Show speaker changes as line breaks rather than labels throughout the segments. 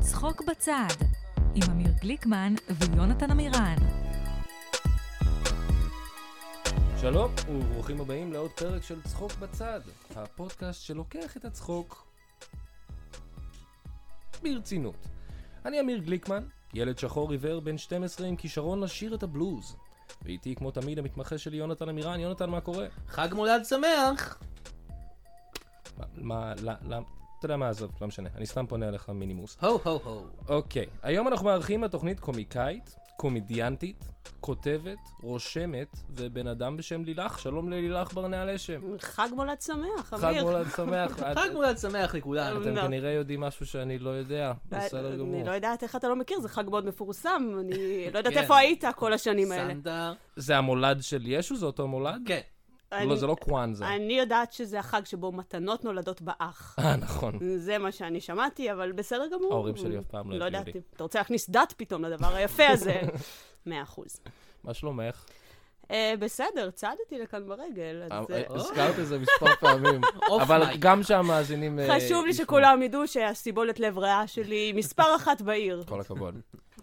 צחוק בצד, עם אמיר גליקמן ויונתן עמירן.
שלום וברוכים הבאים לעוד פרק של צחוק בצד, הפודקאסט שלוקח את הצחוק ברצינות. אני אמיר גליקמן, ילד שחור עיוור בן 12 עם כישרון לשיר את הבלוז. ואיתי כמו תמיד המתמחה שלי יונתן עמירן, יונתן מה קורה?
חג מולד שמח!
מה, מה, למה, למ- אתה יודע מה, עזוב, לא משנה, אני סתם פונה אליך מינימוס.
הו הו הו.
אוקיי, היום אנחנו מארחים בתוכנית קומיקאית, קומדיאנטית, כותבת, רושמת, ובן אדם בשם לילך, שלום ללילך ברנע לשם.
חג מולד שמח,
חג
אמיר.
מולד שמח. את-
חג מולד שמח לכולם.
אתם
לא.
כנראה יודעים משהו שאני לא יודע, בסדר גמור.
אה, אני לא יודעת איך אתה לא מכיר, זה חג מאוד מפורסם, אני לא יודעת
כן.
איפה היית כל השנים האלה.
סנדר.
זה המולד של ישו? זה אותו מולד?
כן.
לא,
אני-
זה לא קוואנזה.
אני יודעת שזה החג שבו מתנות נולדות באח.
אה, נכון.
זה מה שאני שמעתי, אבל בסדר גמור.
ההורים שלי אף פעם לא
לא
הביאו לי.
ידעתי. אתה רוצה להכניס דת פתאום לדבר היפה הזה? מאה אחוז.
מה שלומך?
אה, בסדר, צעדתי לכאן ברגל, אז... אה,
הזכרת את זה מספר פעמים.
אוף
אבל
מייק.
גם שהמאזינים... אה,
חשוב לי
ישמעו.
שכולם ידעו שהסיבולת לב ריאה שלי היא מספר אחת בעיר.
כל הכבוד. אמ,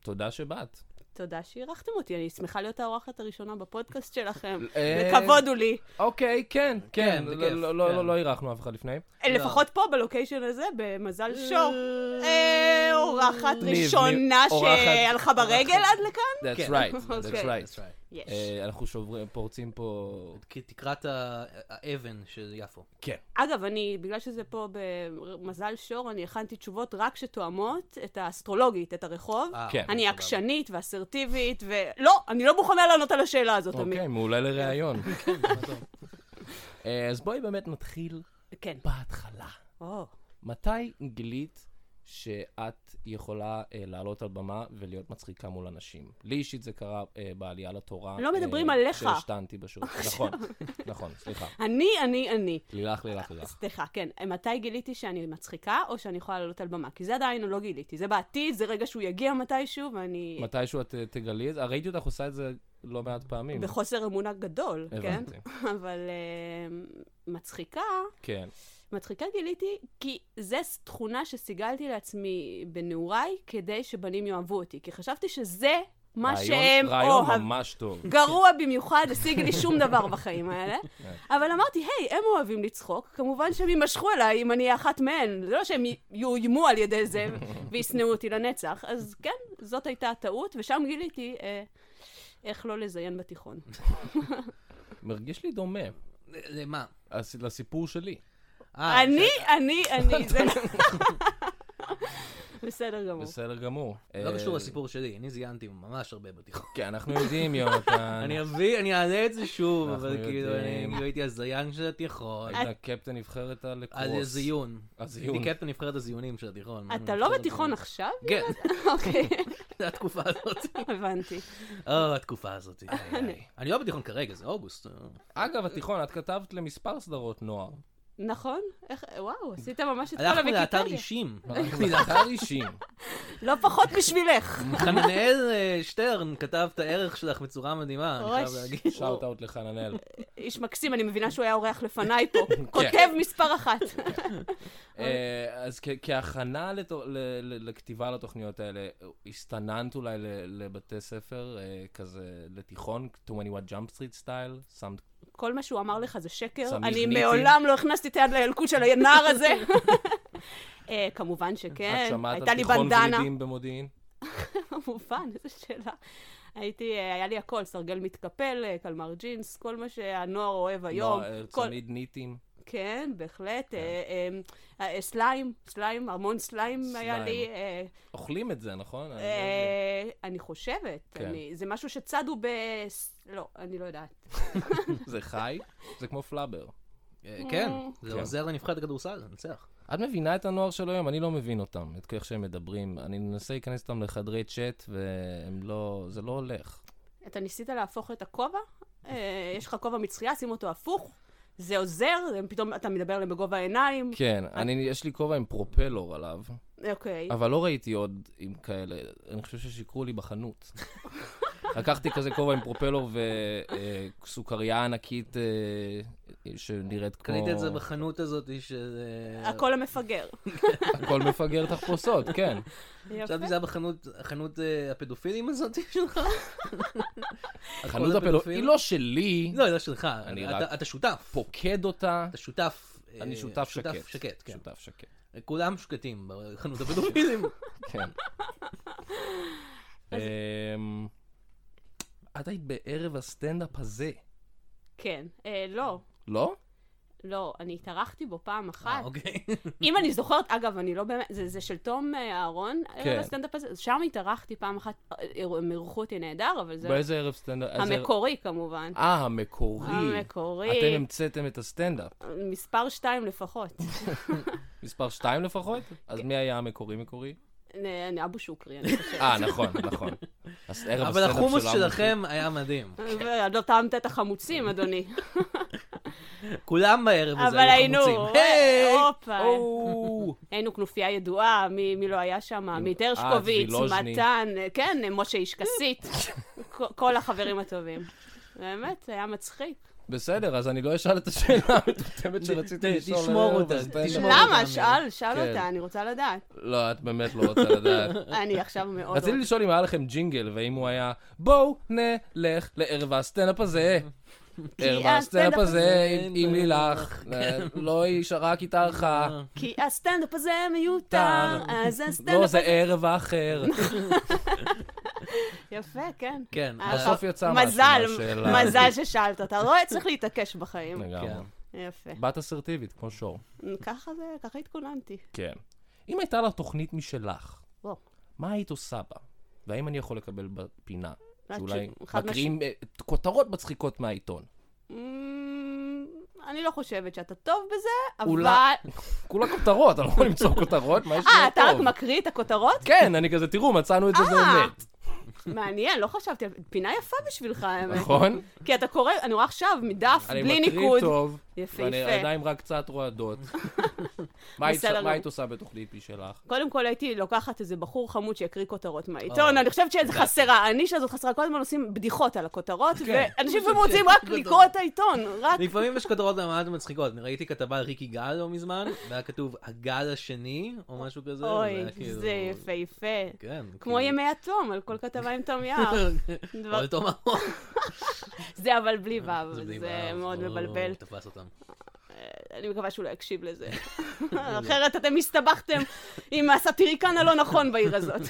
תודה שבאת.
תודה שאירחתם אותי, אני שמחה להיות האורחת הראשונה בפודקאסט שלכם.
אה,
וכבוד הוא לי.
אוקיי, כן, כן.
כן,
לא-
בכיף,
לא- לא
כן.
לא- לא אירחנו אף אחד לפני.
אה, לפחות פה, בלוקיישן הזה, במזל שור. אה, אורחת
ניב,
ראשונה
ניב, אורחת-
שהלכה ברגל עד לכאן?
That's
כן.
right, that's
אוקיי.
right.
יש.
אה, אנחנו שוברים, פורצים פה...
כי תקרת ה- האבן של יפו.
כן.
אגב, אני, בגלל שזה פה במזל שור, אני הכנתי תשובות רק שתואמות את האסטרולוגית, את הרחוב.
אה,
כן.
אני
סבבה.
עקשנית ואסרטיבית, ולא, אני לא מוכנה לענות על השאלה הזאת, אמיר.
אוקיי, מעולה לראיון.
כן,
אה, אז בואי באמת נתחיל
כן.
בהתחלה.
או,
מתי גילית שאת יכולה אה, לעלות על במה ולהיות מצחיקה מול אנשים? לי אישית זה קרה אה, בעלייה לתורה.
לא מדברים
אה,
עליך.
שהשתנתי בשוק. נכון, נכון, סליחה.
אני, אני, אני.
לילך, לילך, לילך.
סליחה, כן. מתי גיליתי שאני מצחיקה, או שאני יכולה לעלות על במה? כי זה עדיין לא גיליתי. זה בעתיד, זה רגע שהוא יגיע מתישהו, ואני...
מתישהו את אה, תגלי את זה? ראיתי אותך עושה את זה לא מעט פעמים.
בחוסר אמונה גדול, כן?
הבנתי.
אבל אה, מצחיקה,
כן.
מצחיקה גיליתי, כי זו תכונה שסיגלתי לעצמי בנעוריי, כדי שבנים יאהבו אותי. כי חשבתי שזה מה
רעיון-
שהם
רעיון
אוהבים.
ממש טוב.
גרוע במיוחד, השיג לי שום דבר בחיים האלה.
כן.
אבל אמרתי, היי, הם אוהבים לצחוק, כמובן שהם יימשכו אליי אם אני אהיה אחת מהן. זה לא שהם י- יאוימו על ידי זה וישנאו אותי לנצח. אז כן, זאת הייתה הטעות, ושם גיליתי אה, איך לא לזיין בתיכון.
מרגיש לי דומה
למה?
הס- לסיפור שלי.
אה,
אני, אני, אני, זה... לא- בסדר גמור.
בסדר גמור.
לא
אה,
קשור לסיפור שלי, אני זיינתי ממש הרבה בתיכון.
כן, אנחנו יודעים, יונתן.
אני אביא, אני אעלה את זה שוב,
אנחנו
אבל כאילו,
יודעים.
אני הייתי הזיין של התיכון.
היית קפטן נבחרת הלקרוס.
על זיון.
הזיון.
הייתי קפטן נבחרת הזיונים של התיכון.
אתה לא בתיכון עכשיו?
כן,
אוקיי,
זה התקופה הזאת.
הבנתי.
אה, התקופה הזאת. אני לא בתיכון כרגע, זה אוגוסט.
אגב, התיכון, את כתבת למספר סדרות נוער.
נכון? איך, וואו, עשית ממש את כל
הלכנו לאתר
הוויקיפדיה.
אישים.
אנחנו לאתר אישים.
לא פחות בשבילך.
חננאל אה, שטרן כתב את הערך שלך בצורה מדהימה, אני חייב
ראש.
להגיד.
שאוט אאוט לחננאל.
איש מקסים, אני מבינה שהוא היה אורח לפניי פה.
כן.
כותב מספר אחת.
אה, אז כ- כהכנה לתו- ל- ל- לכתיבה לתוכניות האלה, הסתננת אולי ל- לבתי ספר, אה, כזה לתיכון, too many what jump street style, שמת
כל מה שהוא אמר לך זה שקר.
סמיך
אני
ניצי.
מעולם לא הכנסתי את היד לילקוט של הנער הזה. אה, כמובן
את
שכן,
שמעת על
הייתה לי
תיכון
בנדנה.
ורידים במודיעין?
כמובן, איזה שאלה. הייתי, אה, היה לי הכל, סרגל מתקפל, אה, קלמר ג'ינס, כל מה שהנוער אוהב היום.
לא, אה,
כל-
צמיד ניטים.
כן, בהחלט. אה, אה, אה, סליים, סליים, המון סליים היה
סליים.
לי. אה,
אוכלים את זה, נכון? אני לא יודע.
אה, אני חושבת.
כן.
אני- זה משהו שצדו ב... לא, אני לא יודעת.
זה חי, זה כמו פלאבר.
אה, כן, זה
כן.
עוזר לנבחרת הכדורסל, לנצח.
את מבינה את הנוער של היום? אני לא מבין אותם, את איך שהם מדברים. אני מנסה להיכנס איתם לחדרי צ'אט, והם לא... זה לא הולך.
אתה ניסית להפוך את הכובע? אה, יש לך כובע מצחייה, שים אותו הפוך. זה עוזר, הם פתאום אתה מדבר אליהם בגובה העיניים.
כן, אני, יש לי כובע עם פרופלור עליו,
אוקיי.
אבל לא ראיתי עוד עם כאלה. אני חושב ששיקרו לי בחנות. לקחתי כזה כובע עם פרופלור וסוכריה ענקית אה, שנראית כמו...
קנית את זה בחנות הזאת אה, שזה...
הכל המפגר.
הכל מפגר תחפושות, כן.
יפה.
חשבתי שזה היה בחנות חנות אה, הפדופילים הזאת שלך.
חנות הפדופיל היא לא שלי,
לא, היא לא שלך.
אני
אתה-
רק-
אתה שותף.
פוקד אותה.
אתה שותף. אה,
אני שותף שקט.
שותף שקט, כן.
שותף שקט,
כולם שקטים בחנות הפדופילים.
כן. אמ, את היית בערב הסטנדאפ הזה,
כן. אה, לא,
לא?
לא, אני התארחתי בו פעם
אה,
אחת.
אוקיי.
אם אני זוכרת, אגב, אני לא באמת, זה, זה של תום אה, אהרון,
כן.
כן. הסטנדאפ הזה, אז שם התארחתי פעם אחת, אה, הם אירחו אותי נהדר, אבל זה
באיזה ערב סטנדאפ? איזה-
המקורי כמובן.
אה, המקורי. אתם
המקורי,
המצאתם את הסטנדאפ.
מספר שתיים לפחות.
מספר שתיים לפחות? אז
כן.
מי היה המקורי מקורי?
אה, אני אבו שוקרי, אני חושבת.
אה, נכון, נכון. אז ערב
אבל
הסטנדאפ
החומוס
שלנו-
שלכם היה מדהים.
ועוד לא טעמת את החמוצים, אדוני.
כולם בערב הזה
אבל
היו
היינו,
חמוצים.
אה,
היי!
הופה.
או,
היינו כנופיה ידועה, מי מי לא היה שם? עמית הרשקוביץ,
וילוז'ני.
מתן, אה, כן, אה, משה איש כסית, כל- כל החברים הטובים. באמת, היה מצחיק.
בסדר, אז אני לא אשאל את השאלה המטומטמת שרציתי
ת-
לשאול.
תשמור
על ערב
אותה,
הסטנדאפ.
תשמור.
למה?
אותה,
שאל, שאל
כן.
אותה, אני רוצה לדעת.
לא, את באמת לא רוצה לדעת.
אני עכשיו מאוד...
רציתי
רוצה.
לשאול אם היה לכם ג'ינגל, ואם הוא היה, בואו נלך לערב הסטנדאפ הזה. ערב אה, הסטנדאפ
הסטנדאפ
הזה
הזה
עם- עם לילך,
כן.
לא היא שרק איתך,
אה. כי הסטנדאפ הזה מיותר, אז
לא
הסטנדאפ
זה
הזה...
ערב אחר. כן.
יפה, כן.
כן,
אה,
אבל-
בסוף יצא משהו
מזל,
מהשאלה. אוקיי.
מזל ששאלת אותה. רואה, צריך להתעקש בחיים.
לגמרי.
יפה.
בת אסרטיבית, כמו שור.
ככה זה, ככה התכוננתי.
כן. אם הייתה לך תוכנית משלך,
וואו.
מה היית עושה בה? והאם אני יכול לקבל בפינה?
את
שאולי
ש- חד
מקריאים אה, כותרות מצחיקות מהעיתון.
אמ, אני לא חושבת שאתה טוב בזה, אבל...
אולי- כולה כותרות, אני לא יכול למצוא כותרות, מה יש
אה,
לי
אתה רק מקריא את הכותרות?
כן, אני כזה, תראו, מצאנו את זה
אה.
באמת.
מעניין, לא חשבתי, על- פינה יפה בשבילך, האמת.
נכון?
כי אתה קורא, אני רואה עכשיו, מדף,
אני
בלי
מקריא
ניקוד.
טוב,
יפהפה.
ואני עדיין רק קצת רועדות. מה היית-
בסדר
מה
גמור.
היית עושה בתוכנית משלך?
קודם כל הייתי לוקחת איזה בחור חמוד שיקריא כותרות
אה,
מהעיתון, אני חושבת שזה חסרה, הנישה הזאת חסרה, כל הזמן עושים בדיחות על הכותרות,
כן.
ואנשים לפעמים רוצים רק
כותרות.
לקרוא את העיתון, רק...
כן. לפעמים יש כותרות ממש מצחיקות. אני ראיתי כתבה על ריקי גל לא מזמן, והיה כתוב הגל השני, או משהו כזה.
אוי,
והיה כאילו-
זה יפהפה.
כן.
כמו
כאילו-
ימי התום, על כל כתבה עם תום יער. דבר-
או על תום אהרון.
זה אבל בלי וו,
אה, זה בלי
זה
בעיה,
מאוד
או,
מבלבל.
תפס אותם.
אני מקווה שהוא לא יקשיב לזה. אחרת אתם הסתבכתם עם הסטיריקן הלא נכון בעיר הזאת.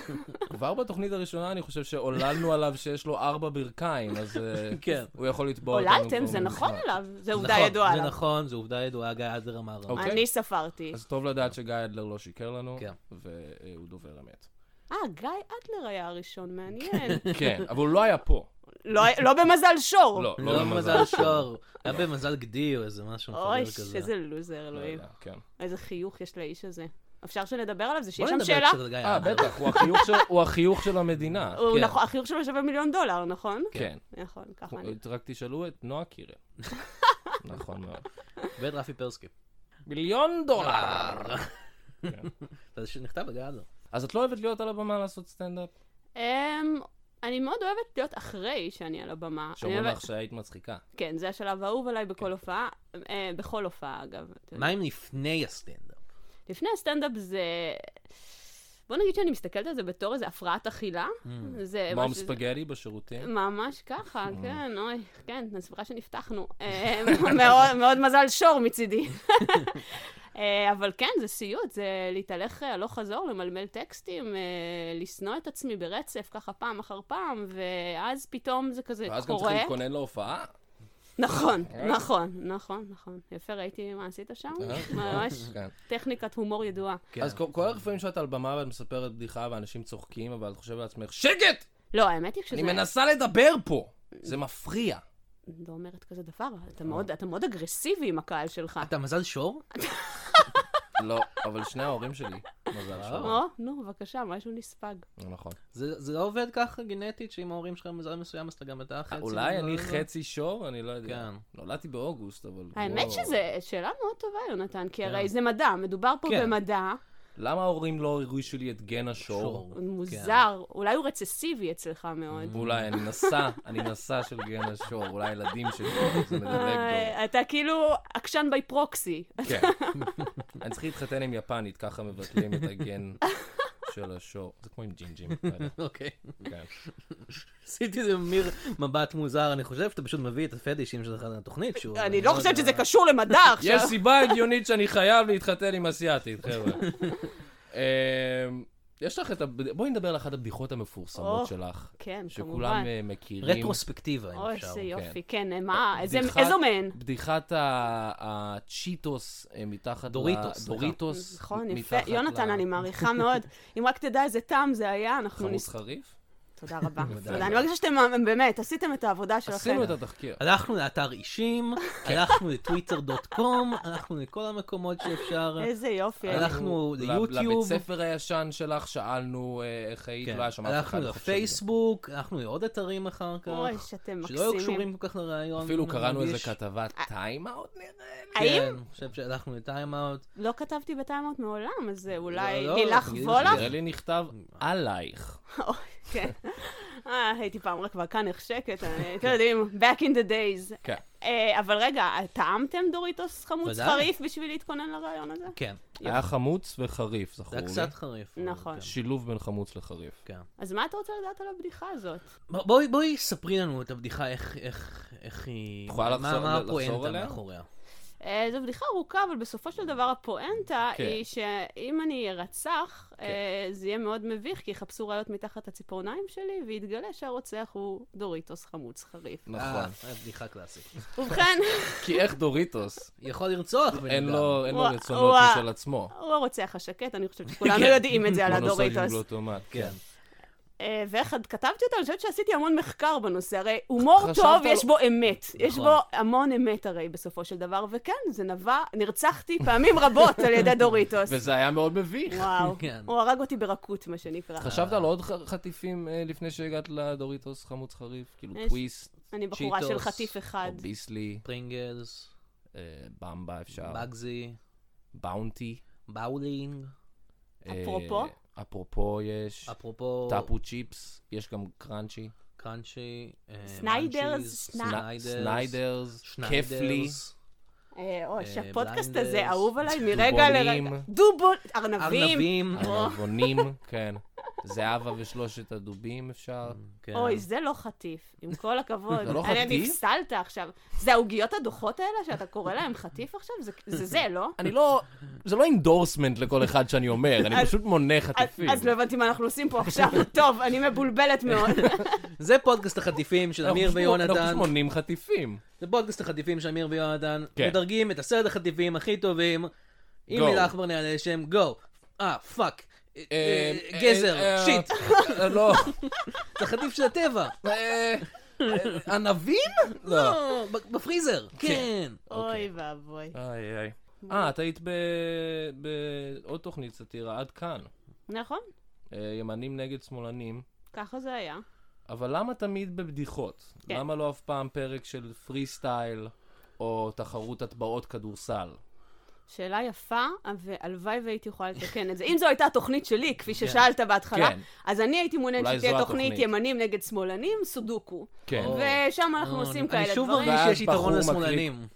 כבר בתוכנית הראשונה אני חושב שעוללנו עליו שיש לו ארבע ברכיים, אז אה,
כן.
הוא יכול לתבוע אותנו.
עוללתם,
כבר
זה
מזמן.
נכון עליו, זה עובדה
נכון,
ידועה
זה
עליו.
נכון, זה עובדה ידועה, גיא אדלר אמר.
אוקיי.
אני ספרתי.
אז טוב לדעת שגיא אדלר לא שיקר לנו,
כן.
והוא דובר אמת.
אה, גיא אדלר היה הראשון, מעניין.
כן, אבל הוא לא היה פה.
לא לא במזל שור.
לא,
לא במזל שור, היה במזל גדי או איזה משהו
אוי,
מחבר כזה.
איזה לוזר,
לא
אלוהים.
יודע, כן.
איזה חיוך יש לאיש הזה. אפשר שנדבר עליו? זה
בוא
שיש שם
נדבר
שאלה?
קצת על גיא
אה,
אדלר.
בטח, הוא החיוך של- הוא החיוך של המדינה.
הוא
כן.
נכון, החיוך שלו שווה מיליון דולר, נכון?
כן.
נכון, ככה. אני-
רק תשאלו את נועה קירל. נכון מאוד.
ואת רפי פרסקי.
מיליון דולר!
זה שנכתב על גיא אדלר.
אז את לא אוהבת להיות על הבמה לעשות סטנדאפ?
אמ, אני מאוד אוהבת להיות אחרי שאני על הבמה. אני
שאומרים
אוהבת-
לך שהיית מצחיקה.
כן, זה השלב האהוב עליי בכל הופעה, אה, בכל הופעה אגב. אתה יודע.
מה אם לפני הסטנדאפ?
לפני הסטנדאפ זה... בוא נגיד שאני מסתכלת על זה בתור איזה הפרעת אכילה.
Mm,
זה
מום
משהו-
ספגטי בשירותים?
אה, ממש ככה, כן, אוי, כן, הסברה שנפתחנו. אה, מאוד- מאוד מזל שור מצידי. אה, אבל כן, זה סיוט, זה להתהלך הלוך חזור, למלמל טקסטים, אה, לשנוא את עצמי ברצף, ככה פעם אחר פעם, ואז פתאום זה כזה קורה.
ואז גם אה? צריכים להתכונן להופעה?
נכון, נכון, נכון, נכון. יפה, ראיתי מה עשית שם? ממש
כן.
טכניקת הומור ידועה.
כן.
אז כל- כל הרפאים שאת על במה ואת מספרת בדיחה ואנשים צוחקים, אבל את חושבת לעצמך, שקט!
לא, האמת היא שזה...
אני מנסה לדבר פה! זה מפריע.
אני לא אומרת כזה דבר,
אה.
אתה מאוד- אתה מאוד אגרסיבי עם הקהל שלך.
אתה מזל שור?
לא, אבל שני ההורים שלי. מזל שלו.
או, נו, בבקשה, משהו נספג.
נכון.
זה זה לא עובד ככה גנטית, שאם ההורים שלך מזל מסוים, אז אתה גם אתה חצי?
אה, אולי
מזל
אני
הזה?
חצי שור? אני לא יודע.
כן.
נולדתי באוגוסט, אבל...
האמת
כמו-
שזו שאלה מאוד טובה, יונתן, כי
כן.
הרי זה מדע, מדובר פה
כן.
במדע,
למה ההורים לא הרגישו לי את גן השור?
שור.
מוזר, אולי הוא רצסיבי אצלך מאוד.
ואולי אני נשא, אני נשא של גן השור, אולי הילדים שלי, זה מדלג דור.
אה, אתה כאילו עקשן בי פרוקסי.
כן. אני צריך להתחתן עם יפנית, ככה מבטלים את הגן של השור. זה כמו עם ג'ינג'ים. לא יודע,
כן. אוקיי.
כן.
עשיתי איזה מיר מבט מוזר, אני חושב שאתה פשוט מביא את הפטישים שלך לתוכנית אה, שוב.
אני לא חושבת
יודע.
שזה קשור למדע עכשיו.
יש סיבה הגיונית שאני חייב להתחתן עם אסיאתית, חבר'ה. אמ, יש לך את ה... בואי נדבר על אחת הבדיחות
או,
המפורסמות שלך.
כן,
שכולם
כמובן.
אה, מכירים.
רטרוספקטיבה, אם
אוי,
אפשר.
איזה יופי, כן, אה, מה, איזה-
בדיחת-
איזו מהן?
בדיחת ה- הצ'יטוס אה, מתחת... ל-
דוריטוס, סליחה.
דוריטוס.
נכון, יפה.
מתחת
יונתן,
ל-
אני מעריכה מאוד. אם רק תדע איזה טעם זה היה, אנחנו
חרוץ
נס...
חריף?
תודה רבה.
בוודאי.
תודה. אני מרגישה שאתם אה, באמת, עשיתם את העבודה שלכם.
עשינו את התחקיר.
הלכנו לאתר אישים, הלכנו לטוויטר.קום, הלכנו לכל המקומות שאפשר.
איזה יופי.
הלכנו
ל-
ליוטיוב,
לבית ספר הישן שלך, שאלנו אה, איך היית,
כן.
לא היה שם אף אחד.
הלכנו
אני חושב שלא.
לפייסבוק, הלכנו לעוד אתרים אחר כך,
אוי, שאתם
שלא היו
מקסימים.
קשורים כל כך לרעיון.
אפילו
אני
קראנו איזה
לא מרגיש.
כתבת טיימאוט נראה.
האם
כן, אני חושב שהלכנו לטיימאוט.
לא כתבתי בטיימאוט מעולם, אז אה, אולי
לא, לא,
לילך
תגידי
וולך?
נראה לי נכתב עלייך.
כן. אה, הייתי פעם רק בקאנך שקט, אני- אתם יודעים, back in the days.
כן.
אה, אבל רגע, טעמתם דוריטוס חמוץ
ודאי.
חריף בשביל להתכונן לרעיון הזה?
כן,
היה חמוץ וחריף, זכור
זה היה
לי.
קצת חריף. אבל
נכון.
כן,
שילוב בין חמוץ לחריף.
כן.
אז מה אתה רוצה לדעת על הבדיחה הזאת?
ב- בואי בואי ספרי לנו את הבדיחה, איך- איך איך היא...
יכולה
מה-
לחזור-
מה
לחזור עליה?
הפואנטה מאחוריה?
אה, זו בדיחה ארוכה, אבל בסופו של דבר הפואנטה
כן.
היא שאם אני ארצח, אה,
כן.
זה יהיה מאוד מביך, כי יחפשו ראיות מתחת הציפורניים שלי, ויתגלה שהרוצח הוא דוריטוס חמוץ חריף.
נכון.
אה, בדיחה קלאסית.
ובכן,
כי איך דוריטוס?
יכול לרצוח בן
אין
אדם.
לו אין לו
וואו,
רצונות
וואו.
משל עצמו.
הוא הרוצח לא השקט, אני חושבת שכולנו
כן.
יודעים את זה על הדוריטוס.
גלוטומט.
כן.
אה, ואיך את כתבתי אותה? אני חושבת שעשיתי המון מחקר בנושא. הרי הומור
חשבת
טוב,
על-
יש בו אמת. יש
נכון.
בו המון אמת הרי בסופו של דבר, וכן, זה נבע, נרצחתי פעמים רבות על ידי דוריטוס.
כן. וזה היה מאוד מביך.
וואו,
כן.
הוא הרג אותי ברכות, מה שנקרא.
חשבת על עוד ח- חטיפים אה, לפני שהגעת לדוריטוס חמוץ חריף? כאילו
יש-
טוויסט,
אני בחורה של
צ'יטוס,
חטיף אחד.
או ביסלי,
פרינגלס,
אה, במבה אפשר,
בגזי,
באונטי.
באולינג,
אה,
אפרופו?
אפרופו יש,
אפרופו
טאפו צ'יפס, יש גם קראנצ'י,
קראנצ'י, אה,
סניידרס,
מאנצ'יז,
סני-
סניידרס, כיף לי.
שניידרס,
אה, אוי,
אה,
שהפודקאסט
בליינדרס,
הזה אהוב עליי מרגע
דובונים.
לרגע. דובון, ארנבים.
ארנבים,
ארנבונים, כן. זהבה ושלושת הדובים אפשר.
כן.
אוי, זה לא חטיף, עם כל הכבוד.
זה לא
אני
חטיף?
נפסלת עכשיו. זה העוגיות הדוחות האלה שאתה קורא להם חטיף עכשיו? זה- זה זה, לא?
אני לא, זה לא אינדורסמנט לכל אחד שאני אומר, אני
אז-
פשוט מונה
אז-
חטיפים.
אז לא הבנתי מה אנחנו עושים פה עכשיו. טוב, אני מבולבלת מאוד.
אוקיי. זה פודקאסט החטיפים של
אנחנו
אמיר
פשוט- אנחנו
ויונתן,
פשוט מונים חטיפים.
זה פודקאסט החטיפים של אמיר ויונתן,
כן.
מדרגים את עשרת החטיפים הכי טובים, אם
Go.
מילה עכבר נעלה שם, גו, אה, פאק, אה, אה,
אה,
גזר,
אה,
שיט,
אה, לא.
זה חטיף של הטבע,
אה, אה, ענבים? לא.
לא, ב- בפריזר, כן.
אוי ואבוי.
איי איי. אה, את היית ב- בעוד תוכנית סאטירה, עד כאן.
נכון,
אה, ימנים נגד שמאלנים.
ככה זה היה.
אבל למה תמיד בבדיחות?
כן.
למה לא אף פעם פרק של פרי סטייל או תחרות הטבעות כדורסל?
שאלה יפה, והלוואי והייתי יכולה לתקן את זה. אם זו הייתה התוכנית שלי, כפי ששאלת בהתחלה,
כן.
אז אני הייתי מעוניינת
אולי
שתהיה
זו
תוכנית
התוכנית.
ימנים נגד שמאלנים, סודוקו.
כן.
או.
ושם אנחנו
אה,
עושים
אני
כאלה
שוב
דברים.
מרגיש
ואז
שיש יתרון
בחור
לשמאלנים.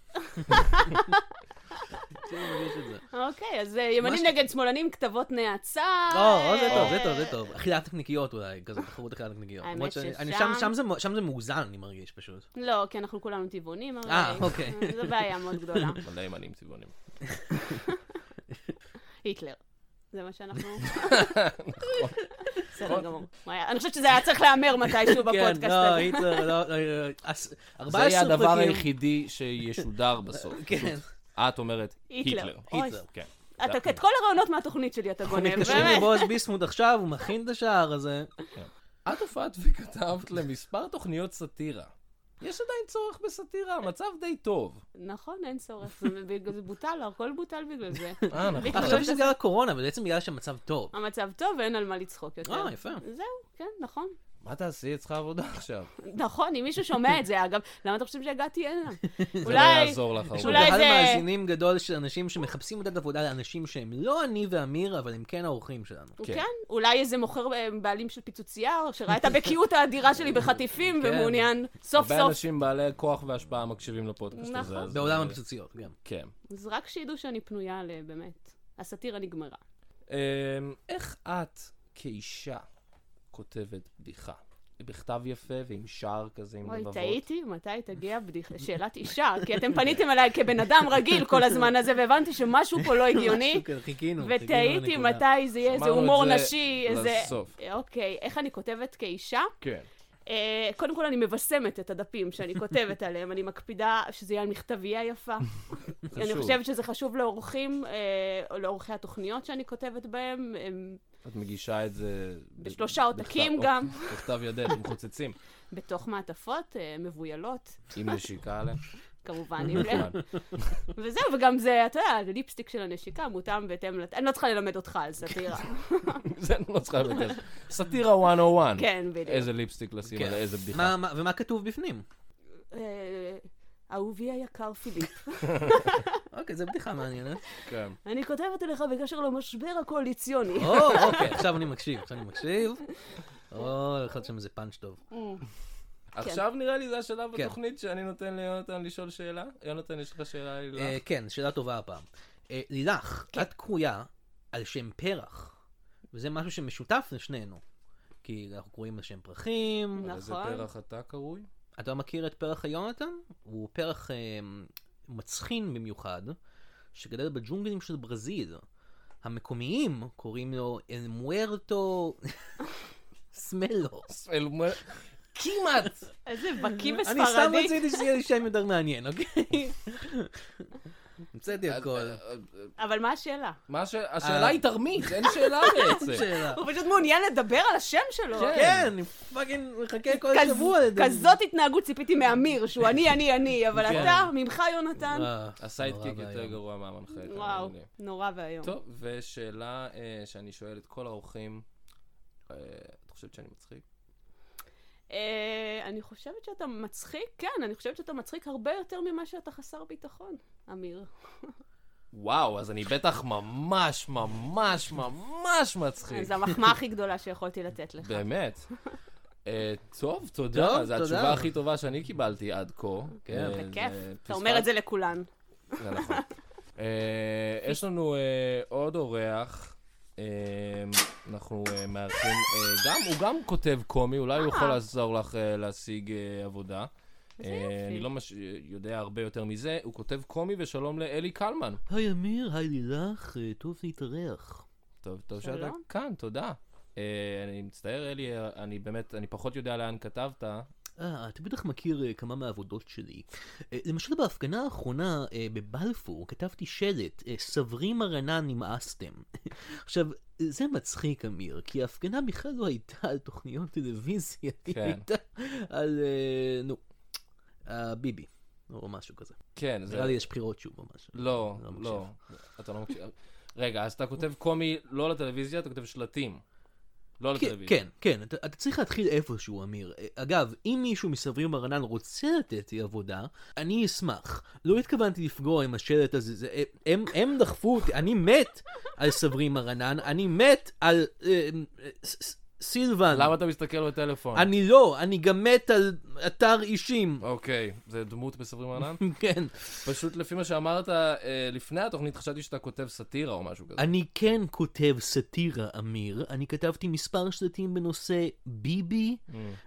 שוב מרגיש את זה.
אוקיי, אז אה, ימנים
מה ש-
נגד שמאלנים, כתבות נאצה.
לא, או, זה טוב,
אה,
זה טוב, זה טוב. אכילת נקניקיות אולי, כזה תחרות אכילת נקניקיות.
האמת
למרות שאני- אני-
ששם-
שם- שם זה מ- שם זה מאוזן, אני מרגיש פשוט.
לא, כי אנחנו כולנו טבעונים, הרי.
אה, אוקיי.
זו בעיה מאוד גדולה.
מלא ימנים צבעונים.
היטלר. זה מה שאנחנו...
נכון.
בסדר גמור. וואי, אני חושבת שזה היה צריך להיאמר מתישהו בפודקאסט
כן, לא,
הזה.
היטלר, לא, לא, אס-
זה
14 פרקים.
יהיה הדבר היחידי שישודר בסוף.
כן.
פשוט. את אומרת,
היטלר.
היטלר.
אוי,
היטלר.
כן.
אתה- את כל הרעיונות מהתוכנית שלי אתה גונב,
מתקשרים
באמת.
לבועז ביסמוט עכשיו, הוא מכין את השער הזה.
את הופעת וכתבת למספר תוכניות סאטירה. יש עדיין צורך בסאטירה, המצב די טוב.
נכון, אין צורך. זה בגלל- זה בוטל, הכל בוטל בגלל זה.
אה, נכון.
בדיוק.
עכשיו יש בגלל הקורונה, אבל בעצם בגלל שהמצב טוב.
המצב טוב ואין על מה לצחוק יותר.
אה, יפה.
זהו, כן, נכון.
מה תעשי? היא צריכה עבודה עכשיו.
נכון, אם מישהו שומע את זה, אגב, למה אתם חושבים שהגעתי הנה?
זה לא
אולי...
יעזור לך.
יש
אולי
הרבה.
לנו קהל
זה-
מאזינים גדול של אנשים שמחפשים עודד עבודה לאנשים שהם לא אני ואמיר, אבל הם כן האורחים שלנו.
כן.
כן, אולי איזה מוכר אה, בעלים של פיצוצייה, שראה את הבקיאות האדירה שלי בחטיפים
כן.
ומעוניין סוף
הרבה
סוף.
אנשים בעלי כוח והשפעה מקשיבים לפודקאסט הזה.
נכון.
אז- אה,
בעולם הפיצוציות, גם.
כן.
אז רק שידעו שאני פנויה ל... באמת. הסאטירה נגמרה.
אמ, איך את, כאישה, כותבת בדיחה? בכתב יפה ועם שער כזה, עם
אוי,
לבבות?
טעיתי, מתי תגיע בדיחה- שאלת אישה, כי אתם פניתם אליי כבן אדם רגיל כל הזמן הזה, והבנתי שמשהו פה לא הגיוני,
משהו כזה, כן, חיכינו, חיכינו
ותהיתי
לנקודה.
מתי זה יהיה איזה
אמרנו את
הומור
זה
נשי, איזה...
לסוף.
אוקיי, איך אני כותבת כאישה?
כן.
אה, קודם כל, אני מבשמת את הדפים שאני כותבת עליהם, אני מקפידה שזה יהיה על מכתבייה יפה. אני
חשוב.
חושבת שזה חשוב לאורחים, אה, או לאורחי התוכניות שאני כותבת בהם, הם
את מגישה את זה... ב-
בשלושה
בכתב-
עותקים גם.
בכתב ידך, עם חוצצים.
בתוך מעטפות, אה, מבוילות,
עם נשיקה עליה.
כמובן, עם לב.
כמובן.
וזהו, וגם זה, אתה יודע, הליפסטיק של הנשיקה מותאם בהתאם לת... אני לא צריכה ללמד אותך
כן.
על סאטירה.
זה אני לא צריכה לבקש. סאטירה 101.
כן, בדיוק.
איזה ליפסטיק לשים
כן.
על איזה בדיחה.
מה- מה- ומה כתוב בפנים?
אה, אהובי היקר פיליפ,
אוקיי, זו בדיחה מעניינת.
כן.
אני כותבת אליך בקשר למשבר הקואליציוני.
או, אוקיי, עכשיו אני מקשיב, עכשיו אני מקשיב. או, יכול להיות שם איזה פאנץ' טוב.
עכשיו נראה לי זה השלב
כן.
בתוכנית שאני נותן ליונתן לשאול שאלה. יונתן, יש לך שאלה לי?
אה, כן, שאלה טובה הפעם. אה, לילך, את קרויה על שם פרח, וזה משהו שמשותף לשנינו. כי אנחנו קרויים על שם פרחים,
נכון.
איזה פרח אתה קרוי?
אתה מכיר את פרח היונתן? הוא פרח אה, מצחין במיוחד, שגדל בג'ונגלים של ברזיל. המקומיים קוראים לו אל מוארטו סמלו.
אל מ- כמעט!
איזה בקיא
אני סתם
בספרדית.
רציתי שיהיה לי שם יותר מעניין, אוקיי? המצאתי הכל.
אה,
אבל מה השאלה?
מה ש... השאלה היא תרמית, אין שאלה בעצם.
אה. שאלה.
הוא פשוט מעוניין לדבר על השם שלו.
כן, לא אני פאקינג מחכה כל
כז-
שבוע לדבר.
כזאת התנהגות ציפיתי מאמיר, שהוא אני, אני, אני, אבל
כן.
אתה, ממך, יונתן,
אה, הסיידקיק יותר
ואיום.
גרוע מהמנחה. אתם
וואו,
מבינים.
נורא ואיום.
טוב, ושאלה אה, שאני שואל את כל האורחים, אה, את חושבת שאני מצחיק?
אה, אני חושבת שאתה מצחיק, כן, אני חושבת שאתה מצחיק הרבה יותר ממה שאתה חסר ביטחון, אמיר.
וואו, אז אני בטח ממש ממש ממש מצחיק.
כן.
זו המחמאה הכי גדולה שיכולתי לתת לך.
באמת. אה, טוב,
טוב,
תודה. זו
תודה.
התשובה הכי טובה שאני קיבלתי עד כה.
כן.
אה,
בכיף.
זה
אתה אומר את זה לכולן.
פספס- זה נכון. אה, יש לנו אה, עוד אורח. אה, אנחנו אה, מארחים, אה, גם, הוא גם כותב קומי, אולי הוא
אה.
יכול לעזור לך אה, להשיג אה, עבודה.
איזה
אה,
יופי.
אני לא מש- יודע הרבה יותר מזה, הוא כותב קומי ושלום לאלי קלמן.
היי אמיר, היי לילך, אה, טוב להתארח.
טוב, טוב
שלום.
שאתה כאן, תודה. אה, אני מצטער, אלי, אה, אני באמת, אני פחות יודע לאן כתבת.
אה, אתה בטח מכיר אה, כמה מהעבודות שלי. אה, למשל בהפגנה האחרונה אה, בבלפור כתבתי שלט, אה, סברים הרנה נמאסתם. עכשיו, זה מצחיק אמיר, כי ההפגנה בכלל לא הייתה על תוכניות טלוויזיה, היא
כן.
הייתה על, אה, נו, אה, ביבי, או משהו כזה.
כן, זה...
נראה לי יש בחירות שוב או משהו.
לא,
לא מקשיב.
לא. אתה לא מקשיב. רגע, אז אתה כותב קומי לא לטלוויזיה, אתה כותב שלטים. לא
כן,
לטלוויזיה.
כן, כן, אתה, אתה צריך להתחיל איפשהו, אמיר. אה, אגב, אם מישהו מסברים ברנן רוצה לתת לי עבודה, אני אשמח. לא התכוונתי לפגוע עם השלט הזה, זה, אה, הם, הם דחפו אותי, אני מת על סברים ברנן, אני מת על אה, אה, ס- ס- סילבן.
למה אתה מסתכל בטלפון?
אני לא, אני גם מת על אתר אישים.
אוקיי, זה דמות בסברים ענן?
כן.
פשוט לפי מה שאמרת אה, לפני התוכנית, חשבתי שאתה כותב סאטירה או משהו כזה.
אני כן כותב סאטירה, אמיר. אני כתבתי מספר שלטים בנושא ביבי,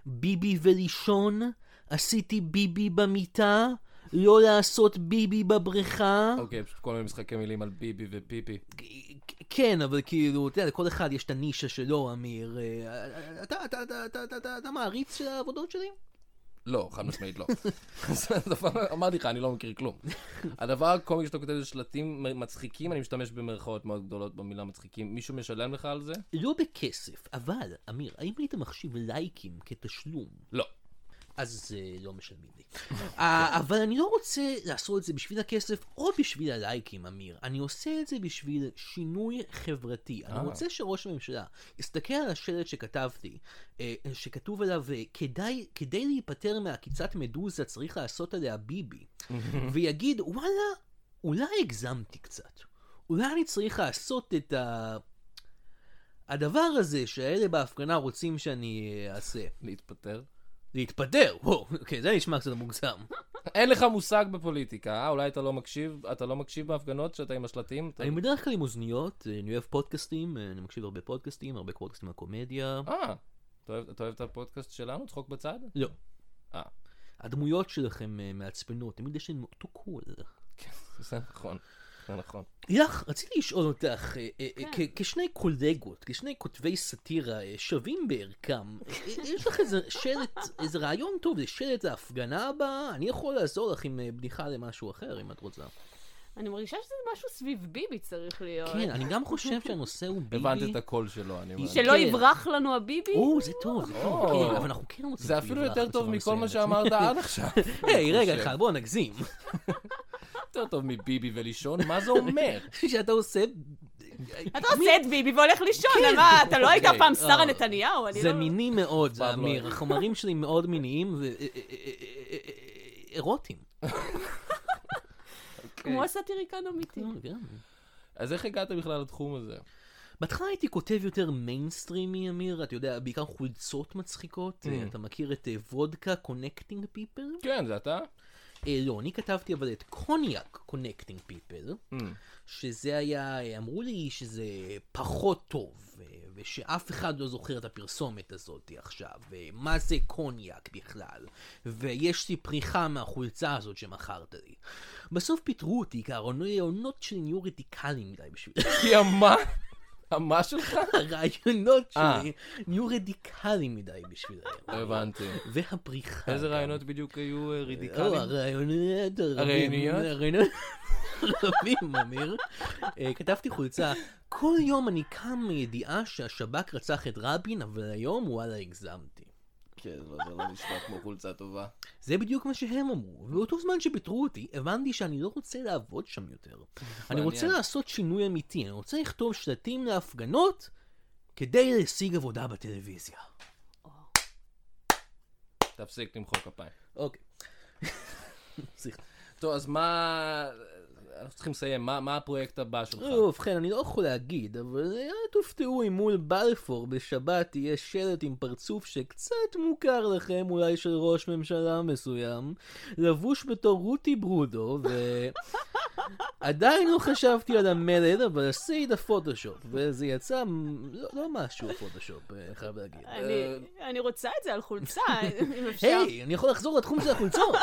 ביבי ולישון, עשיתי ביבי במיטה, לא לעשות ביבי בבריכה.
אוקיי, פשוט כל מיני משחקי מילים על ביבי ופיפי.
כן, אבל כאילו, אתה יודע, לכל אחד יש את הנישה שלו, אמיר. אה, אתה, אתה, אתה, אתה, אתה, אתה, אתה מעריץ של העבודות שלי?
לא, חד משמעית לא. אז הדבר- אמרתי לך, אני לא מכיר כלום. הדבר הקומי שאתה כותב זה שלטים מצחיקים, אני משתמש במרכאות מאוד גדולות במילה מצחיקים. מישהו משלם לך על זה?
לא בכסף, אבל, אמיר, האם היית מחשיב לייקים כתשלום?
לא.
אז אה, לא משלמים לי. אה, אבל אני לא רוצה לעשות את זה בשביל הכסף או בשביל הלייקים, אמיר. אני עושה את זה בשביל שינוי חברתי. אני
אה.
רוצה שראש הממשלה יסתכל על השלט שכתבתי, אה, שכתוב עליו, אה, "כדאי- כדי להיפטר מעקיצת מדוזה צריך לעשות עליה ביבי, ויגיד, וואלה, אולי הגזמתי קצת. אולי אני צריך לעשות את ה... הדבר הזה שאלה בהפגנה רוצים שאני אה, אעשה.
להתפטר.
להתפטר, וואו, אוקיי, זה נשמע קצת מוגזם.
אין לך מושג בפוליטיקה, אה? אולי אתה לא מקשיב, אתה לא מקשיב בהפגנות שאתה עם השלטים? אתה-
אני בדרך כלל עם אוזניות, אה, אני אוהב פודקאסטים, אה, אני מקשיב הרבה פודקאסטים, הרבה פודקאסטים על קומדיה.
אה, אתה אוהב- אתה אוהב את הפודקאסט שלנו, צחוק בצד?
לא.
אה.
הדמויות שלכם אה, מעצבנות, תמיד יש להן אותו קול.
כן, זה נכון. זה נכון.
לך, רציתי לשאול אותך, אה, אה, אה,
כן.
כ- כשני קולגות, כשני כותבי סאטירה אה, שווים בערכם, אה, אה, יש לך איזה שלט, איזה רעיון טוב לשלט ההפגנה הבאה? אני יכול לעזור לך עם אה, בדיחה למשהו אחר, אם את רוצה.
אני מרגישה שזה משהו סביב ביבי צריך להיות.
כן, אני גם חושב שהנושא הוא ביבי.
הבנת את הקול שלו, אני אומר.
שלא
כן.
יברח לנו הביבי?
או, זה טוב, זה
או.
טוב, כן, אבל אנחנו כן רוצים...
זה
שהוא
אפילו
יברח
יותר טוב
בצורה
מכל מה
מסוימת.
שאמרת עד עכשיו.
היי,
אני
רגע
חושב.
אחד, בוא נגזים.
יותר טוב מביבי ולישון, מה זה אומר?
שאתה עושה...
אתה עושה את ביבי והולך לישון,
כן.
על מה, אתה לא היית
אוקיי.
פעם
אה,
שרה נתניהו? אני
זה
לא-
מיני מאוד, זה
פבלו.
אמיר. החומרים שלי מאוד מיניים ו... אירוטיים.
כן.
כמו סאטיריקן אמיתי.
אז איך הגעת בכלל לתחום הזה?
בהתחלה הייתי כותב יותר מיינסטרימי, אמיר, אתה יודע, בעיקר חולצות מצחיקות.
Mm.
אתה מכיר את אה, וודקה קונקטינג פיפל?
כן, זה אתה?
לא, אני כתבתי אבל את קוניאק קונקטינג פיפל.
כן. Hmm.
שזה היה, אה, אמרו לי שזה פחות טוב, אה, ושאף אחד לא זוכר את הפרסומת הזאת עכשיו, ומה זה קוניאק בכלל, ויש לי פריחה מהחולצה הזאת שמכרת לי. בסוף פיטרו אותי, כי הרעיונות שלי נהיו רדיקליים מדי בשביל
כי המה? המה שלך?
הרעיונות
אה.
שלי נהיו רדיקליים מדי בשבילם.
הבנתי.
והפריחה.
איזה
גם.
רעיונות בדיוק היו אה,
או,
רדיקליים?
לא, הרעיונות
הרעיוניות?
הרעיונות רבים, אמיר. אה, כתבתי חולצה, כל יום אני קם מידיעה שהשב"כ רצח את רבין, אבל היום וואלה הגזמתי.
כן, לא, זה לא נשמע כמו חולצה טובה.
זה בדיוק מה שהם אמרו, ובאותו זמן שפיטרו אותי, הבנתי שאני לא רוצה לעבוד שם יותר. אני רוצה
מעניין.
לעשות שינוי אמיתי, אני רוצה לכתוב שלטים להפגנות כדי להשיג עבודה בטלוויזיה.
אה. תפסיק למחוא כפיים.
אוקיי. סליחה.
טוב, אז מה... אנחנו צריכים לסיים, מה מה הפרויקט הבא שלך?
לא, ובכן, אני לא יכול להגיד, אבל אה, תופתעו אם מול בלפור בשבת יהיה שלט עם פרצוף שקצת מוכר לכם, אולי של ראש ממשלה מסוים, לבוש בתור רותי ברודו, ו... עדיין לא חשבתי על המלל, אבל עשי את הפוטושופ, וזה יצא מ- לא, לא משהו הפוטושופ, אה, חייב להגיד.
אני-
אה.
אני רוצה את זה על חולצה, אם אפשר.
היי, אני יכול לחזור לתחום של החולצות.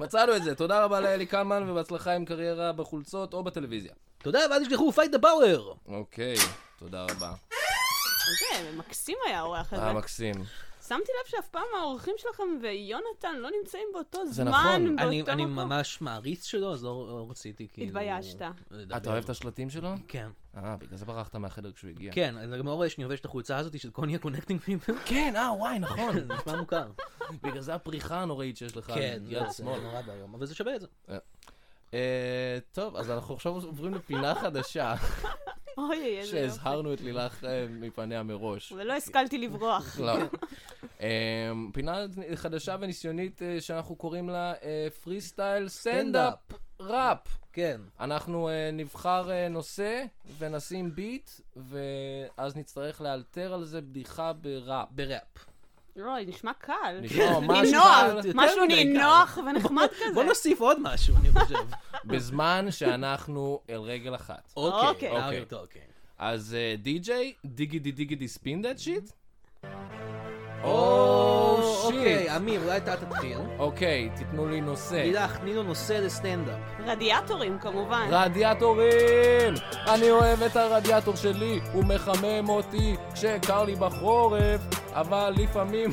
מצאנו את זה, תודה רבה לאלי קלמן ובהצלחה עם קריירה בחולצות או בטלוויזיה.
תודה, ואל תשכחו, פייט דה פאוור!
אוקיי, תודה רבה.
זה מקסים כן, היה האורח
אה,
הזה.
מקסים.
שמתי לב שאף פעם האורחים שלכם ויונתן לא נמצאים באותו
זה
זמן,
נכון.
באותו
אני,
מקום.
אני ממש מעריץ שלו, אז לא, לא רציתי כאילו...
התביישת.
לדבר.
אתה אוהב את השלטים שלו?
כן.
אה, בגלל זה ברחת מהחדר כשהוא הגיע.
כן, אני גם לא רואה שאני לובש את החולצה הזאת של קוניה קונקטינג פיפל.
כן, אה, וואי, נכון.
זה נשמע מוכר.
בגלל זה הפריחה הנוראית שיש לך על יד
כן, לא, זה
שמאל.
נורא ואיום, אבל זה שווה את זה.
אה, טוב, אז אנחנו עכשיו עוברים לפינה חדשה,
אוי, איזה יופי.
שהזהרנו את לילך אה, מפניה מראש.
ולא השכלתי לברוח.
לא. אה, פינה חדשה וניסיונית אה, שאנחנו קוראים לה פרי סטייל סטנדאפ ראפ.
כן.
אנחנו אה, נבחר אה, נושא ונשים ביט, ואז נצטרך לאלתר על זה בדיחה בראפ.
בראפ. לא,
לא, נשמע קל.
נשמע ממש קל.
נינוח,
יותר
משהו
מדי קל.
נינוח ונחמד כזה.
בוא נוסיף עוד משהו, אני חושב.
בזמן שאנחנו על רגל אחת.
אוקיי.
אוקיי. אה,
אוקיי.
יותר, אוקיי.
אז אה, די-ג'יי, דיגידי דיגידי ספין דאט שיט? Oh,
או,
או שיט.
Oh, אוקיי, אמיר, אולי אתה תתחיל.
Oh, אוקיי, תיתנו לי נושא.
לילך, תני לו נושא
Oh.
לסטנדאפ.
רדיאטורים כמובן.
רדיאטורים! אני אוהב את הרדיאטור שלי, הוא מחמם אותי כשקר לי בחורף, אבל לפעמים...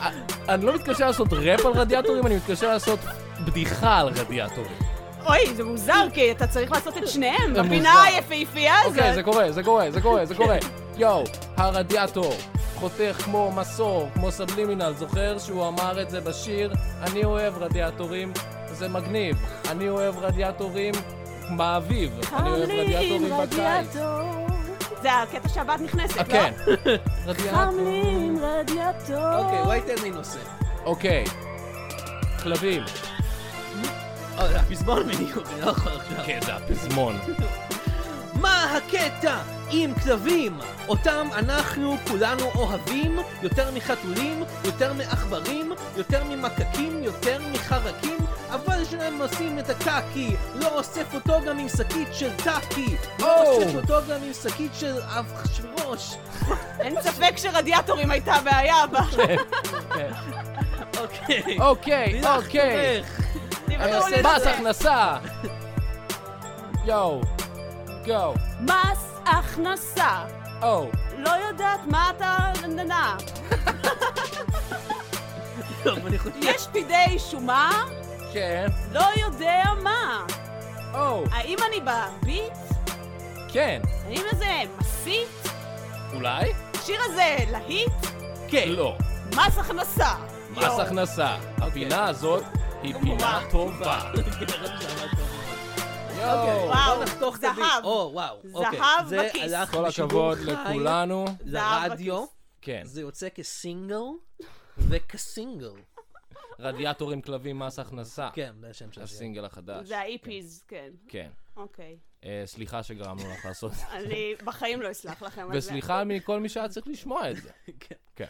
אני לא מתקשר לעשות ראפ על רדיאטורים, אני מתקשר לעשות בדיחה על רדיאטורים.
אוי, זה מוזר, כי אתה צריך לעשות את שניהם
זה
בפינה
מוזר.
היפהפייה
אוקיי, זה
הזאת.
קורה, זה קורה, זה קורה, זה קורה. יואו, הרדיאטור. חו- חותך כמו מסור, כמו סבלימינל, זוכר שהוא אמר את זה בשיר? אני אוהב רדיאטורים, זה מגניב. אני אוהב רדיאטורים באביב. אני אוהב רדיאטורים בקיץ.
זה הקטע שהבת נכנסת,
אה,
לא?
כן.
חם
רדיאטור.
לי עם רדיאטור.
אוקיי, וואי תן לי נושא.
אוקיי. כלבים.
אה, זה הפזמון בדיוק, אני לא יכול עכשיו.
כן, זה הפזמון.
מה הקטע עם כלבים? אותם אנחנו כולנו אוהבים יותר מחתולים, יותר מעכברים, יותר ממקקים, יותר מחרקים אבל כשהם עושים את הקקי לא אוסף אותו גם עם שקית של טאקי לא
או!
אוסף אותו גם עם שקית של אבחשוורוש
אין ספק שרדיאטורים הייתה הבעיה בה.
אה,
אוקיי
כן. אוקיי,
לילך
אוקיי.
תומך.
דיברו
עושה
לי על
אה, מס
זה.
הכנסה! יואו, גו,
מס הכנסה.
או,
לא יודעת מה אתה... ננה.
טוב, אני חושב
יש פקידי שומה?
כן,
לא יודע מה.
או,
האם אני בביט?
כן,
האם זה מסית?
אולי?
השיר הזה להיט?
כן.
לא.
מס הכנסה.
מס הכנסה. הפינה הזאת היא לא. אוקיי. פינה טובה. אוקיי. יואו,
וואו,
בוא נחתוך את
זהב.
הביט. או, וואו.
זהב
אוקיי. זה
בכיס.
הלך
כל
בשידור
הכבוד
חי
לכולנו.
זהב
לרדיו.
בכיס.
כן.
זה יוצא כסינגל וכסינגל.
רדיאטורים כלבים מס הכנסה.
כן, זה השם של השיר.
הסינגל החדש.
זה האיפיז, כן.
כן.
אוקיי.
אה, סליחה שגרמנו לך לעשות את זה.
אני בחיים לא אסלח לכם על זה.
וסליחה מכל מי שהיה צריך לשמוע את זה.
כן.
כן.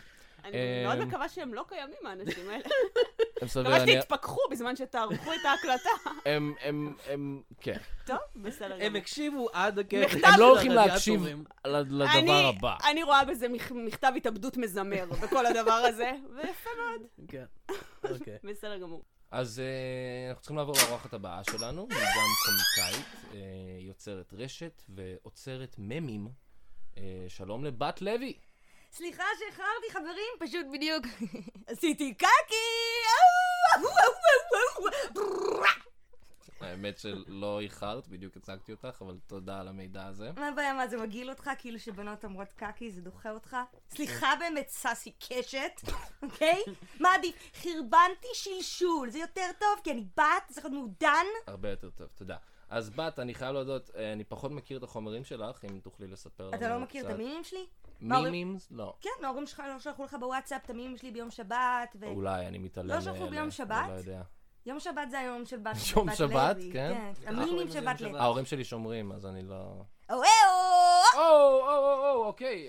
אני מאוד
אמ,
מקווה שהם לא קיימים, האנשים האלה.
הם סביר
מקווה
להניח...
שתתפכחו בזמן שתערכו את ההקלטה.
הם, הם, הם, כן.
טוב, בסדר
הם
גמור.
הקשיבו עד הקטע.
מכתב
הם
של
לא הולכים להקשיב
הרדיאטורים.
ל- לדבר
אני-
הבא.
אני רואה בזה מכ- מכתב התאבדות מזמר, בכל הדבר הזה, ויפה מאוד.
כן. אוקיי.
בסדר גמור.
אז אה, אנחנו צריכים לעבור לאורחת הבאה שלנו, היא גם קומיקאית, אה, יוצרת רשת ועוצרת ממים. אה, שלום לבת לוי.
סליחה שאיחרתי, חברים, פשוט בדיוק
עשיתי קקי!
האמת שלא איחרת, בדיוק הצגתי אותך, אבל תודה על המידע הזה.
מה הבעיה, מה זה מגעיל אותך? כאילו שבנות אומרות קקי, זה דוחה אותך?
כן.
סליחה באמת, ססי קשת, אוקיי? מה עדיף? חרבנתי שלשול, זה יותר טוב, כי אני בת, צריך להיות מעודן.
הרבה יותר טוב, תודה. אז בת, אני חייב להודות, אה, אני פחות מכיר את החומרים שלך, אם תוכלי לספר לנו
אתה לא מכיר את
אה, קצת.
המימים שלי? מה, ההורים-
מימימס? לא.
כן, ההורים שלך לא שלחו לך בוואטסאפ את המימים שלי ביום שבת, ו...
אולי, אני מתעלם
אה, לא שלחו
מאלה,
ביום
אני
שבת?
לא יודע.
יום שבת זה היום של בת
יום
בת
שבת,
לוי,
כן.
כן,
אנחנו
המימים
קוראים
של
לזה
בת
יום
לוי.
שבת.
אה, ההורים שלי שומרים, אז אני לא...
אוהו!
או, או, או, או, אוקיי.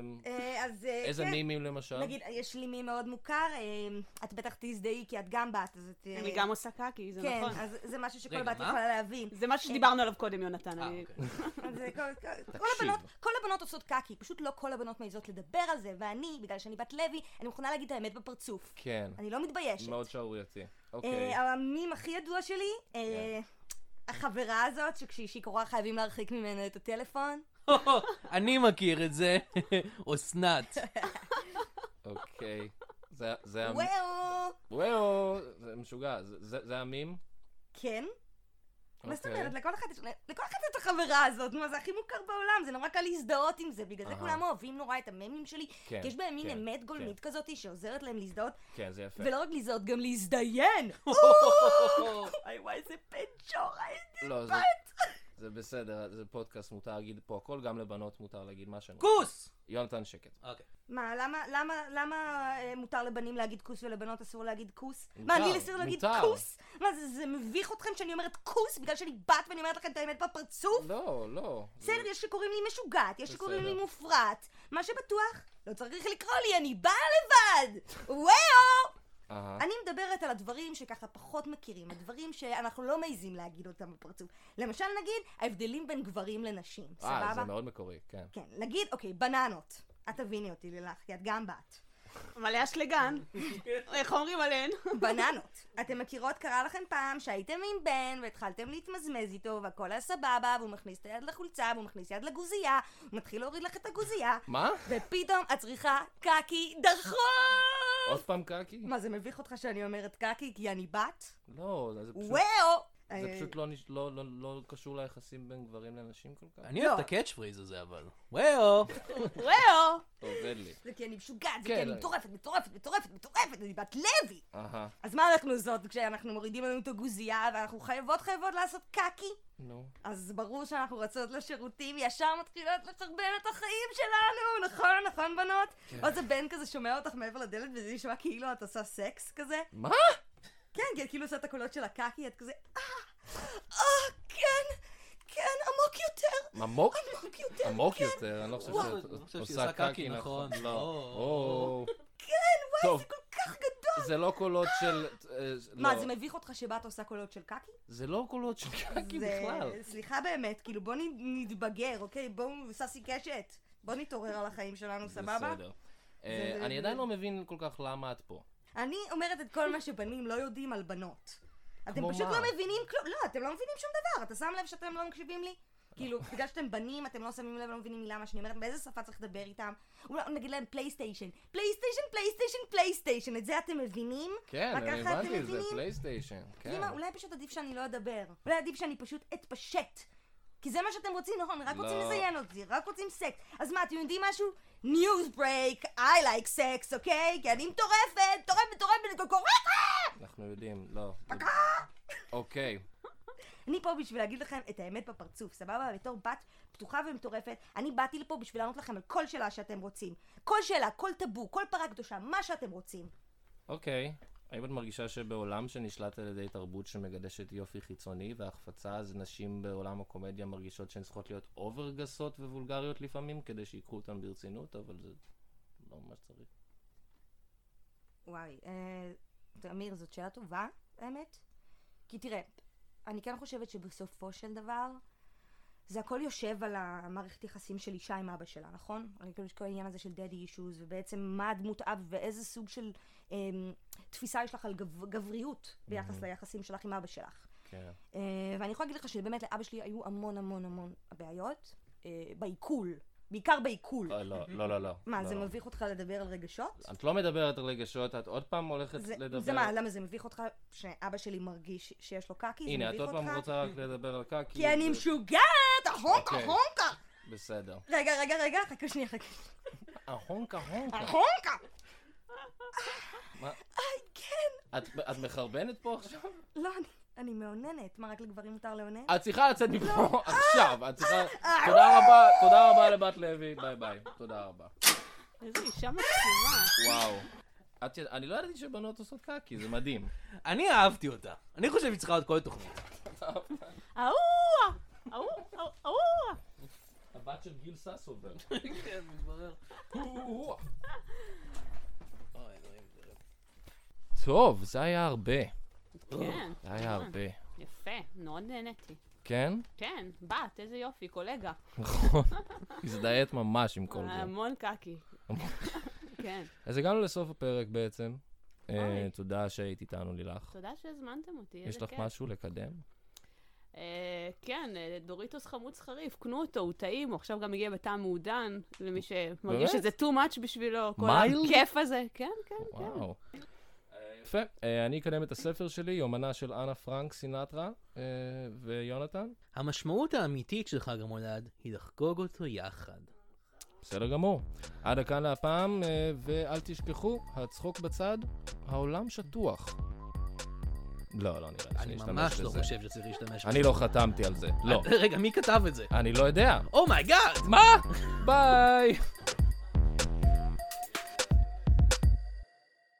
אמ,
אה, אז... אה,
איזה
כן.
מימים למשל?
נגיד, יש לי מי מאוד מוכר, אה, את בטח תזדהי כי את גם בת, אז את... אה,
אני גם עושה קקי, זה
כן,
נכון.
אז זה משהו שכל
רגע,
בת
מה?
יכולה להבין.
זה משהו שדיברנו עליו קודם, יונתן.
אה,
אני-
אוקיי.
אז זה כל- כל- כל הבנות- כל הבנות עושות קקי, פשוט לא כל הבנות מעיזות לדבר על זה, ואני, בגלל שאני בת לוי, אני מוכנה להגיד את האמת בפרצוף.
כן,
אני לא מתביישת.
מאוד שערורייתי. אוקיי. כן.
אה, המים הכי ידוע שלי, אה, החברה הזאת, שכשהיא קורה חייבים להרחיק ממנה את הטלפון.
אני מכיר את זה. אסנת.
אוקיי. זה זה המ...
וואו!
וואו! זה משוגע. זה- זה זה המים?
כן? מה זאת
אוקיי.
אומרת? לכל אחת יש- לכל אחת את החברה הזאת, נו, זה הכי מוכר בעולם, זה נורא קל להזדהות עם זה, בגלל זה
אהה.
כולם אוהבים נורא את הממים שלי,
כן,
כי יש בהם מין
כן,
אמת גולמית כזאת שעוזרת להם להזדהות,
כן, זה יפה.
ולא רק להזדהות, גם להזדיין! וואי וואי, איזה בן שורה, איזה
לא, זה... זה בסדר, זה פודקאסט, מותר להגיד פה הכל, גם לבנות מותר להגיד מה שאני...
כוס!
יונתן שקט.
אוקיי.
מה, למה, למה, למה אה, מותר לבנים להגיד כוס ולבנות אסור להגיד כוס?
מותר,
מה, לי אסור להגיד
מותר.
כוס? מה, זה, זה מביך אתכם שאני אומרת כוס בגלל שאני בת ואני אומרת לכם את האמת בפרצוף?
לא, לא. זה-
בסדר, יש שקוראים לי משוגעת, יש שקוראים לי
בסדר.
מופרעת. מה שבטוח, לא צריך לקרוא לי, אני באה לבד!
אה?
וואו!
אהה.
אני מדברת על הדברים שככה פחות מכירים, הדברים שאנחנו לא מעיזים להגיד אותם בפרצוף. למשל, נגיד, ההבדלים בין גברים לנשים,
אה,
סבבה?
זה מאוד מקורי, כן.
כן, נגיד, אוקיי, בננות. את תביני אותי, לילך, כי את גם בת.
מלא אשלגן. איך אומרים עליהן?
בננות. אתם מכירות, קרה לכם פעם שהייתם עם בן והתחלתם להתמזמז איתו והכל היה סבבה והוא מכניס את היד לחולצה והוא מכניס יד לגוזייה, הוא מתחיל להוריד לך את הגוזייה,
מה?
ופתאום את צריכה קקי דחוף!
עוד פעם קקי?
מה, זה מביך אותך שאני אומרת קקי כי אני בת?
לא, זה פשוט...
וואו!
זה
אה,
פשוט לא נש- לא- לא- לא קשור ליחסים בין גברים לנשים כל כך.
אני אוהב את הקאץ' פרייז הזה, אבל. וואו!
וואו!
עובד לי.
אה, זה כי אני משוגעת, זה
כן,
כי אני
אה.
מטורפת, מטורפת, מטורפת, מטורפת, אני בת לוי!
אהה,
אז מה אנחנו זאת כשאנחנו מורידים לנו את הגוזייה ואנחנו חייבות חייבות לעשות קקי?
נו.
אז ברור שאנחנו רצות לשירותים, ישר מתחילות לחרבן את החיים שלנו, נכון, נכון בנות?
כן.
עוד זה בן כזה שומע אותך מעבר לדלת וזה נשמע כאילו את עושה סקס כזה.
מה?
כן, כי את כאילו עושה את הקולות של הקקי, את כזה, אה, אה, כן, כן, עמוק יותר,
עמוק?
עמוק יותר,
עמוק יותר, אני לא חושב
וואו, אני
שאת
חושב שהיא עושה קקי, נכון.
לא.
או,
או.
כן, וואי,
טוב.
זה כל כך גדול.
זה לא קולות של... אה,
מה,
לא.
זה מביך אותך שבת עושה קולות של קקי?
זה לא קולות של קקי
זה-
בכלל.
סליחה באמת, כאילו בוא נ- נתבגר, אוקיי? בואו, ססי קשת. בוא נתעורר על החיים שלנו, סבבה?
בסדר. אה,
זה-
אני עדיין לא מבין כל כך למה את פה.
אני אומרת את כל מה שבנים לא יודעים על בנות. אתם
כמו
פשוט
מה?
לא מבינים כלום, לא, אתם לא מבינים שום דבר. אתה שם לב שאתם לא מקשיבים לי? כאילו, בגלל שאתם בנים, אתם לא שמים לב, לא מבינים מילה מה שאני אומרת, באיזה שפה צריך לדבר איתם? אולי נגיד להם פלייסטיישן. פלייסטיישן, פלייסטיישן, פלייסטיישן. את זה אתם מבינים?
כן,
רק
אני
ככה אתם
הבנתי, זה
מבינים?
פלייסטיישן. כן.
אימא, אולי פשוט עדיף שאני לא אדבר. אולי עדיף שאני פשוט אתפשט. כי זה מה שאתם רוצים, נכון? רק רוצים
לא.
לזיין אותי, רק רוצים סקס. אז מה, אתם יודעים משהו? ניוז ברייק, I like sex, אוקיי? כי אני מטורפת, מטורפת, מטורפת, קורקה!
אנחנו יודעים, לא. זה- אוקיי.
אני פה בשביל להגיד לכם את האמת בפרצוף, סבבה? בתור בת פתוחה ומטורפת, אני באתי לפה בשביל לענות לכם על כל שאלה שאתם רוצים. כל שאלה, כל טאבו, כל פרה קדושה, מה שאתם רוצים.
אוקיי. האם את מרגישה שבעולם שנשלט על ידי תרבות שמגדשת יופי חיצוני והחפצה, אז נשים בעולם הקומדיה מרגישות שהן צריכות להיות אובר גסות ווולגריות לפעמים כדי שיקחו אותן ברצינות, אבל זה לא ממש צריך.
וואי, אה, אמיר, זאת שאלה טובה, האמת. כי תראה, אני כן חושבת שבסופו של דבר, זה הכל יושב על המערכת יחסים של אישה עם אבא שלה, נכון? הרי כאילו יש כל העניין הזה של דדי אישוז, ובעצם מה הדמות אב ואיזה סוג של אה, תפיסה יש לך על גב, גבריות ביחס ליחסים שלך עם אבא שלך.
כן.
אה, ואני יכולה להגיד לך שבאמת לאבא שלי היו המון המון המון בעיות, אה, בעיכול, בעיקר בעיכול.
לא, לא, לא, לא, לא.
מה,
לא,
זה
לא.
מביך אותך לדבר על רגשות?
את לא מדברת על רגשות, את עוד פעם הולכת
זה,
לדבר...
זה מה, למה זה מביך אותך שאבא שלי מרגיש שיש לו קקי?
הנה,
זה
את
מביך
עוד פעם
אותך?
רוצה רק לדבר על קקי.
כי אני
זה-
משוגעת! החונקה,
אוקיי.
החונקה!
בסדר.
רגע, רגע, רגע, חכה שנייה, חכה.
ההונקה, הונקה.
החונקה!
מה?
אה, כן!
את את מחרבנת פה עכשיו?
לא, אני, אני מאוננת. מה, רק לגברים מותר לאונן?
את צריכה לצאת
לא.
מפה עכשיו, את
אה,
צריכה... תודה רבה, תודה רבה לבת לוי, ביי ביי, תודה רבה.
איזה אישה מקסימה.
וואו. את יד- אני לא ידעתי שבנות עושות קקי, זה מדהים.
אני אהבתי אותה. אני חושב שהיא צריכה עוד כל תוכנית.
אהוה! אהוה! אהוה!
הבת של גיל ססובר.
כן, מתברר. אוי, אלוהים.
טוב, זה היה הרבה.
כן,
זה היה הרבה.
יפה, מאוד נהניתי.
כן?
כן, בת, איזה יופי, קולגה.
נכון. הזדהית ממש עם כל זה.
המון קקי. כן,
אז הגענו לסוף הפרק בעצם. אה,
אוי.
תודה שהיית איתנו, לילך.
תודה שהזמנתם אותי, איזה
יש
כיף.
לך משהו לקדם?
אה, כן, אה, דוריטוס חמוץ חריף, קנו אותו, הוא טעים, הוא עכשיו גם הגיע בטעם מעודן, למי שמרגיש
באמת?
שזה too much בשבילו, כל
מיילד?
הכיף הזה. כן, כן, כן.
וואו. אה, יפה. אה, אני אקדם את הספר שלי, יומנה של אנה פרנק סינטרה אה, ויונתן.
המשמעות האמיתית של חג המולד היא לחגוג אותו יחד.
בסדר גמור. עד כאן להפעם, אה, ואל תשכחו, הצחוק בצד, העולם שטוח. לא, לא נראה לי
אני
אשתמש
ממש לא
בזה.
חושב שצריך להשתמש
אני לא חתמתי על זה. לא.
רגע, מי כתב את זה? Oh
אני לא יודע.
אומייגאד!
מה? ביי!